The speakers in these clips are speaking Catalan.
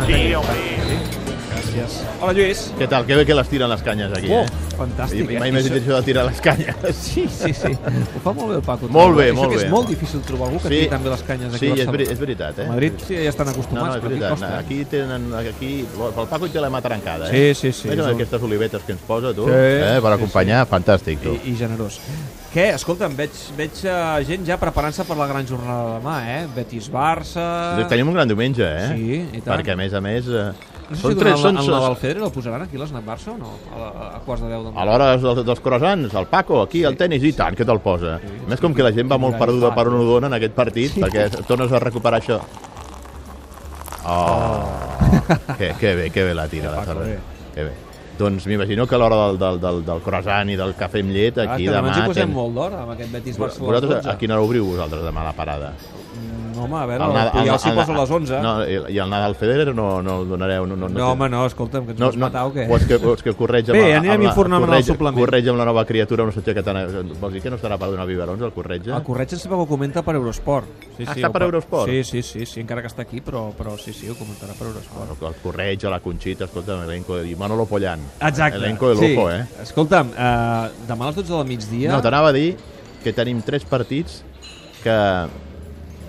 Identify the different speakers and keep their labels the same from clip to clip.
Speaker 1: a
Speaker 2: Sí,
Speaker 1: tenir.
Speaker 2: home.
Speaker 1: Gràcies.
Speaker 2: Hola, Lluís.
Speaker 3: Què tal? Que bé que les tiren les canyes aquí,
Speaker 1: Oh,
Speaker 3: eh?
Speaker 1: fantàstic,
Speaker 3: I,
Speaker 1: eh?
Speaker 3: mai més he dit això de tirar les canyes.
Speaker 1: Sí, sí, sí. Ho fa molt bé el Paco.
Speaker 3: Molt bé,
Speaker 1: Això
Speaker 3: molt
Speaker 1: que
Speaker 3: bé.
Speaker 1: és molt difícil trobar algú que sí. tingui també les canyes aquí
Speaker 3: sí,
Speaker 1: a
Speaker 3: és, veri,
Speaker 1: Barcelona.
Speaker 3: és veritat, eh?
Speaker 1: A Madrid sí, ja estan
Speaker 3: No,
Speaker 1: acostumats,
Speaker 3: no,
Speaker 1: però
Speaker 3: és
Speaker 1: aquí
Speaker 3: veritat.
Speaker 1: costa. eh?
Speaker 3: Aquí tenen... Aquí, pel Paco té la mà trencada,
Speaker 1: Sí,
Speaker 3: eh?
Speaker 1: sí, sí,
Speaker 3: Mira
Speaker 1: és un-
Speaker 3: aquestes olivetes que ens posa, tu,
Speaker 1: Sí,
Speaker 3: eh? Per
Speaker 1: sí,
Speaker 3: acompanyar, fantàstic, tu.
Speaker 1: I, i generós. Què? Escolta'm, veig, veig eh, gent ja preparant-se per la gran jornada de demà, eh? Betis-Barça...
Speaker 3: Doncs Tenim un gran diumenge, eh?
Speaker 1: Sí, i tant.
Speaker 3: Perquè, a més a més... Eh,
Speaker 1: No sé
Speaker 3: són
Speaker 1: si
Speaker 3: tres, són,
Speaker 1: en la del Federer el posaran aquí a l'Snap Barça o no? A, la, a quarts de 10 del
Speaker 3: A l'hora dels, dels croissants, el Paco, aquí, sí. el tennis, i tant, què te'l posa? Sí. Més com que la gent va molt perduda per on ho dona en aquest partit, sí. perquè tornes a recuperar això. Oh, que, que bé, que bé la tira. la
Speaker 1: Paco,
Speaker 3: tarda.
Speaker 1: bé.
Speaker 3: Que bé. Doncs m'imagino que a l'hora del, del, del, del croissant i del cafè amb llet, aquí
Speaker 1: ah,
Speaker 3: demà...
Speaker 1: Ens hi posem
Speaker 3: ten-
Speaker 1: molt d'hora amb aquest Betis-Barça a les
Speaker 3: Vosaltres,
Speaker 1: 12.
Speaker 3: a quina hora obriu vosaltres demà la parada?
Speaker 1: No, home, a veure,
Speaker 3: El
Speaker 1: el,
Speaker 3: Nadal-
Speaker 1: Puyol
Speaker 3: el-
Speaker 1: s'hi
Speaker 3: el-
Speaker 1: posa a les 11.
Speaker 3: No, i, I el Nadal Federer no, no el donareu? No, no,
Speaker 1: no, home, no, escolta'm, Doncs que ens
Speaker 3: no,
Speaker 1: vols
Speaker 3: no,
Speaker 1: matar o què?
Speaker 3: vols que, vols que correig amb
Speaker 1: Bé,
Speaker 3: la-
Speaker 1: anirem
Speaker 3: amb la-
Speaker 1: informant en el
Speaker 3: correig-
Speaker 1: suplement.
Speaker 3: Correig amb la nova criatura, no s'aixeca tan... Vols dir que no estarà per donar biberons, el correig?
Speaker 1: El Corretge sempre ho comenta per Eurosport. Sí,
Speaker 3: Ah, està
Speaker 1: ho
Speaker 3: per
Speaker 1: fa-
Speaker 3: Eurosport?
Speaker 1: Sí, sí, sí, sí, encara que està aquí, però, però sí, sí, ho comentarà per Eurosport.
Speaker 3: El correig, a la Conxita, escolta, elenco de... i Manolo Pollan.
Speaker 1: Exacte.
Speaker 3: Elenco de lujo, sí. eh?
Speaker 1: Escolta'm, eh, demà a les 12 del migdia...
Speaker 3: No, t'anava a dir que tenim tres partits que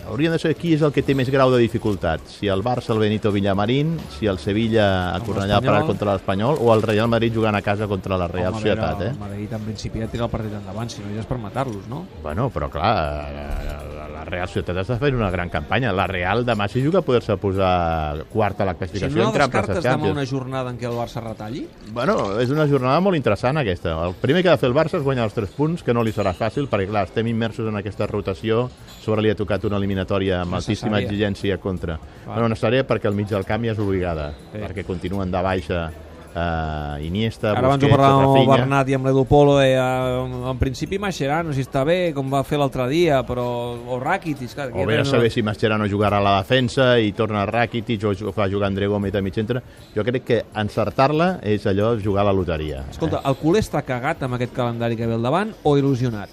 Speaker 3: hauríem de saber qui és el que té més grau de dificultat. Si el Barça, el Benito Villamarín, si el Sevilla a
Speaker 1: Amb
Speaker 3: Cornellà
Speaker 1: l'Espanyol.
Speaker 3: per contra l'Espanyol o el Real Madrid jugant a casa contra la Real
Speaker 1: Home, a veure,
Speaker 3: Societat, eh?
Speaker 1: El Madrid, en principi, ja tira el partit endavant, si no ja és per matar-los, no?
Speaker 3: Bueno, però clar, eh, la- la Real Ciutat està fent una gran campanya. La Real demà si juga a poder-se posar quarta a la
Speaker 1: Si
Speaker 3: classificació
Speaker 1: no
Speaker 3: entre places
Speaker 1: descartes demà
Speaker 3: Champions.
Speaker 1: una jornada en què el Barça retalli,
Speaker 3: Bueno, és una jornada molt interessant aquesta. El primer que ha de fer el Barça és guanyar els 3 punts, que no li serà fàcil, perquè clar, estem immersos en aquesta rotació, sobre li ha tocat una eliminatòria amb altíssima
Speaker 1: Necessària.
Speaker 3: exigència contra. Bueno, necessària perquè el mig del camp ja és obligada,
Speaker 1: Sí.
Speaker 3: perquè continuen de baixa eh, Iniesta,
Speaker 1: Ara abans ho
Speaker 3: Busquets,
Speaker 1: parlàvem amb el
Speaker 3: Rafinha.
Speaker 1: Bernat i amb l'Edu Polo, deia, en principi Mascherano, si està bé, com va fer l'altre dia, però... O Rakitic, clar,
Speaker 3: O bé a saber si Mascherano jugarà a la defensa i torna a Rakitic o ju- fa jugar André Gómez a mig centre. Jo crec que encertar-la és allò de jugar a la loteria.
Speaker 1: Escolta, el culer està cagat amb aquest calendari que ve al davant o il·lusionat?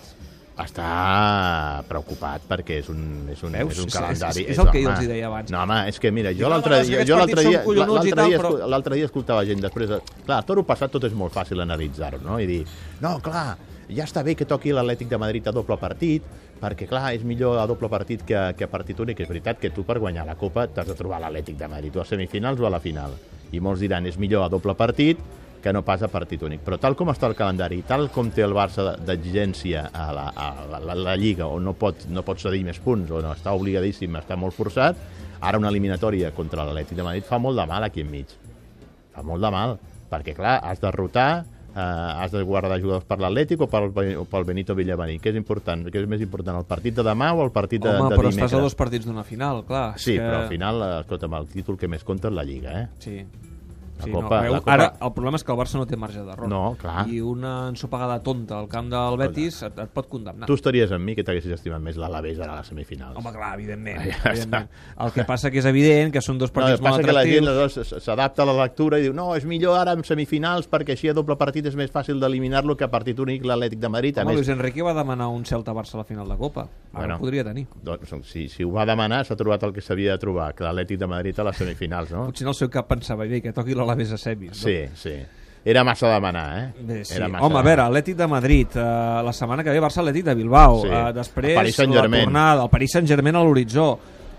Speaker 3: Està preocupat perquè és un, és un,
Speaker 1: Veus?
Speaker 3: és un
Speaker 1: És-
Speaker 3: calendari.
Speaker 1: és- és el que
Speaker 3: home,
Speaker 1: jo els hi deia abans.
Speaker 3: No, home, és que mira,
Speaker 1: no,
Speaker 3: jo l'altre
Speaker 1: no, és que
Speaker 3: dia,
Speaker 1: aquests
Speaker 3: jo l'altre
Speaker 1: partits
Speaker 3: dia,
Speaker 1: són collonuts
Speaker 3: l'altre
Speaker 1: i tal,
Speaker 3: dia,
Speaker 1: però-
Speaker 3: escu- l'altre dia escoltava gent després de... Clar, el toro passat tot és molt fàcil analitzar-ho, no? I dir, no, clar, ja està bé que toqui l'Atlètic de Madrid a doble partit, perquè, clar, és millor a doble partit que, que a partit únic. És veritat que tu, per guanyar la Copa, t'has de trobar l'Atlètic de Madrid o a semifinals o a la final. I molts diran, és millor a doble partit que no pas a partit únic. Però tal com està el calendari, i tal com té el Barça de- d'exigència a, la, a la, la, la Lliga, on no pot, no pot cedir més punts, on està obligadíssim, està molt forçat, ara una eliminatòria contra l'Atlètic de Madrid fa molt de mal aquí enmig fa molt de mal, perquè clar, has de rotar, eh, has de guardar jugadors per l'Atlètic o, pel, o pel Benito Villamarín, que és important, que és més important, el partit de demà o el partit de,
Speaker 1: Home,
Speaker 3: de
Speaker 1: però
Speaker 3: dimecres.
Speaker 1: estàs a dos partits d'una final, clar. és
Speaker 3: Sí,
Speaker 1: que...
Speaker 3: però al final, eh, escolta'm, el títol que més compta és la Lliga, eh?
Speaker 1: Sí.
Speaker 3: La
Speaker 1: sí
Speaker 3: Copa-
Speaker 1: no, veu,
Speaker 3: la Copa-
Speaker 1: Ara, el problema és que el Barça no té marge d'error.
Speaker 3: No, clar.
Speaker 1: I una ensopegada tonta al camp del Betis et, et pot condemnar.
Speaker 3: Tu estaries amb mi que t'haguessis estimat més l'Alavés ara a les semifinals.
Speaker 1: Ah. Home, clar, evidentment.
Speaker 3: Ja està.
Speaker 1: evidentment. El que passa que és evident que són dos
Speaker 3: No, el
Speaker 1: partits
Speaker 3: que
Speaker 1: molt
Speaker 3: passa que la
Speaker 1: atractius.
Speaker 3: gent aleshores, s- s'adapta a la lectura i diu no, és millor ara en semifinals perquè així a doble partit és més fàcil d'eliminar-lo que a partit únic l'Atlètic de Madrid. A
Speaker 1: Home,
Speaker 3: més,
Speaker 1: Luis Enrique va demanar un Celta-Barça a la final de Copa. Ara
Speaker 3: Bueno.
Speaker 1: bueno. podria tenir.
Speaker 3: doncs, si, si ho va demanar s'ha trobat el que s'havia de trobar, que l'Atlètic de Madrid a les semifinals, no?
Speaker 1: Potser en el seu cap pensava, bé, que toqui l'Alaves a semis. No?
Speaker 3: Sí, sí. Era massa demanar, eh?
Speaker 1: Bé, sí.
Speaker 3: Era
Speaker 1: Home, a veure, Atlètic de Madrid, eh, la setmana que ve Barça Atlètic de Bilbao,
Speaker 3: Sí.
Speaker 1: eh, després
Speaker 3: El Paris
Speaker 1: la
Speaker 3: Saint-Germain.
Speaker 1: tornada, el Paris Saint-Germain a l'horitzó.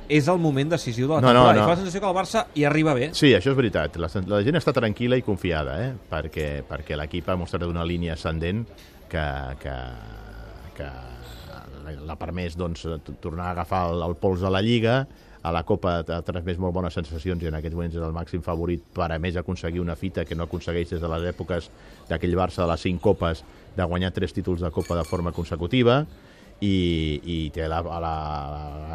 Speaker 1: És el moment decisiu de la
Speaker 3: No, no,
Speaker 1: temporada.
Speaker 3: no.
Speaker 1: I fa la sensació que el Barça hi arriba bé.
Speaker 3: Sí, això és veritat. La, sen- la gent està tranquil·la i confiada, eh? Perquè, perquè l'equip ha mostrat una línia ascendent que, que, que l'ha permès doncs, t- tornar a agafar el, el pols a la Lliga, a la Copa ha transmès molt bones sensacions i en aquests moments és el màxim favorit per a més aconseguir una fita que no aconsegueix des de les èpoques d'aquell Barça de les cinc copes de guanyar tres títols de Copa de forma consecutiva i, i té la, a la,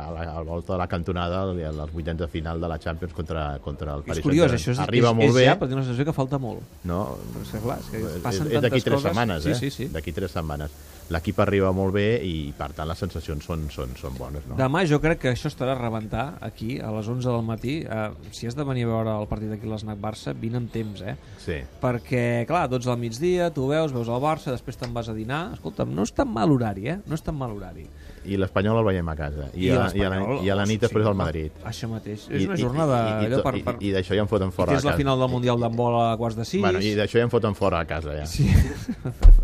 Speaker 3: a la, a la volta de la cantonada el- els vuitens de final de la Champions contra, contra el Paris
Speaker 1: és curiós,
Speaker 3: Saint-Germain.
Speaker 1: això és,
Speaker 3: Arriba
Speaker 1: és,
Speaker 3: molt
Speaker 1: és
Speaker 3: bé,
Speaker 1: ja, però tinc la sensació que falta molt.
Speaker 3: no?
Speaker 1: Però és que, clar, és que
Speaker 3: És,
Speaker 1: passen
Speaker 3: és d'aquí
Speaker 1: tantes
Speaker 3: tres
Speaker 1: coses.
Speaker 3: setmanes, eh?
Speaker 1: Sí, sí, sí.
Speaker 3: D'aquí tres setmanes. l'equip arriba molt bé i, per tant, les sensacions són, són, són bones. No?
Speaker 1: Demà jo crec que això estarà a rebentar aquí, a les 11 del matí. Eh, si has de venir a veure el partit aquí a l'Snac Barça, vine amb temps, eh?
Speaker 3: Sí.
Speaker 1: Perquè, clar, 12 al migdia, tu veus, veus el Barça, després te'n vas a dinar. Escolta'm, no és tan mal horari, eh? No és tan mal horari.
Speaker 3: I l'Espanyol el veiem a casa. I, a, i, a, la,
Speaker 1: l'Espanyol,
Speaker 3: i a la nit
Speaker 1: sí,
Speaker 3: després al
Speaker 1: clar,
Speaker 3: Madrid.
Speaker 1: Això mateix. És una
Speaker 3: I- i-
Speaker 1: jornada
Speaker 3: i- i-
Speaker 1: allò
Speaker 3: i-
Speaker 1: per... per...
Speaker 3: I, i d'això ja em foten fora
Speaker 1: Tens
Speaker 3: a
Speaker 1: la
Speaker 3: casa.
Speaker 1: final del Mundial d'handbol a quarts de sis.
Speaker 3: Bueno, i d'això ja em foten fora a casa, ja.
Speaker 1: Sí.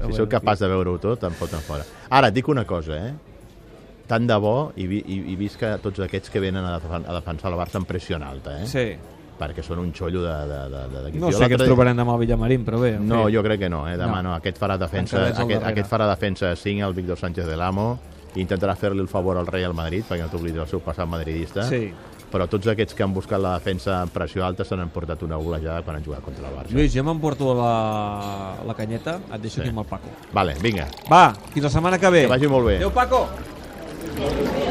Speaker 3: Si sou capaç de veure-ho tot, em foten fora. Ara, et dic una cosa, eh? Tant de bo i, vi, i, i visc que tots aquests que venen a, defen a defensar la Barça en pressió en alta, eh?
Speaker 1: Sí.
Speaker 3: Perquè són un xollo de... de, de, de, de
Speaker 1: No sé què
Speaker 3: Jo l'altre
Speaker 1: ens
Speaker 3: dia-
Speaker 1: trobarem demà al Villamarín, però bé. en
Speaker 3: No,
Speaker 1: fi.
Speaker 3: jo crec que no, eh? Demà
Speaker 1: No.
Speaker 3: no. no. Aquest farà defensa,
Speaker 1: Tancadets al
Speaker 3: aquest,
Speaker 1: darrere.
Speaker 3: aquest farà defensa 5 al Víctor Sánchez de l'Amo i intentarà fer-li el favor al rei al Madrid perquè no t'oblidis el seu passat madridista
Speaker 1: Sí.
Speaker 3: però tots aquests que han buscat la defensa en pressió alta se n'han portat una golejada quan han jugat contra el Barça
Speaker 1: Lluís, jo m'emporto la, la canyeta, et deixo sí. aquí amb el Paco.
Speaker 3: vale, vinga,
Speaker 1: Va, fins la setmana que ve.
Speaker 3: que vagi molt bé
Speaker 1: Adéu, Paco!
Speaker 2: Adéu.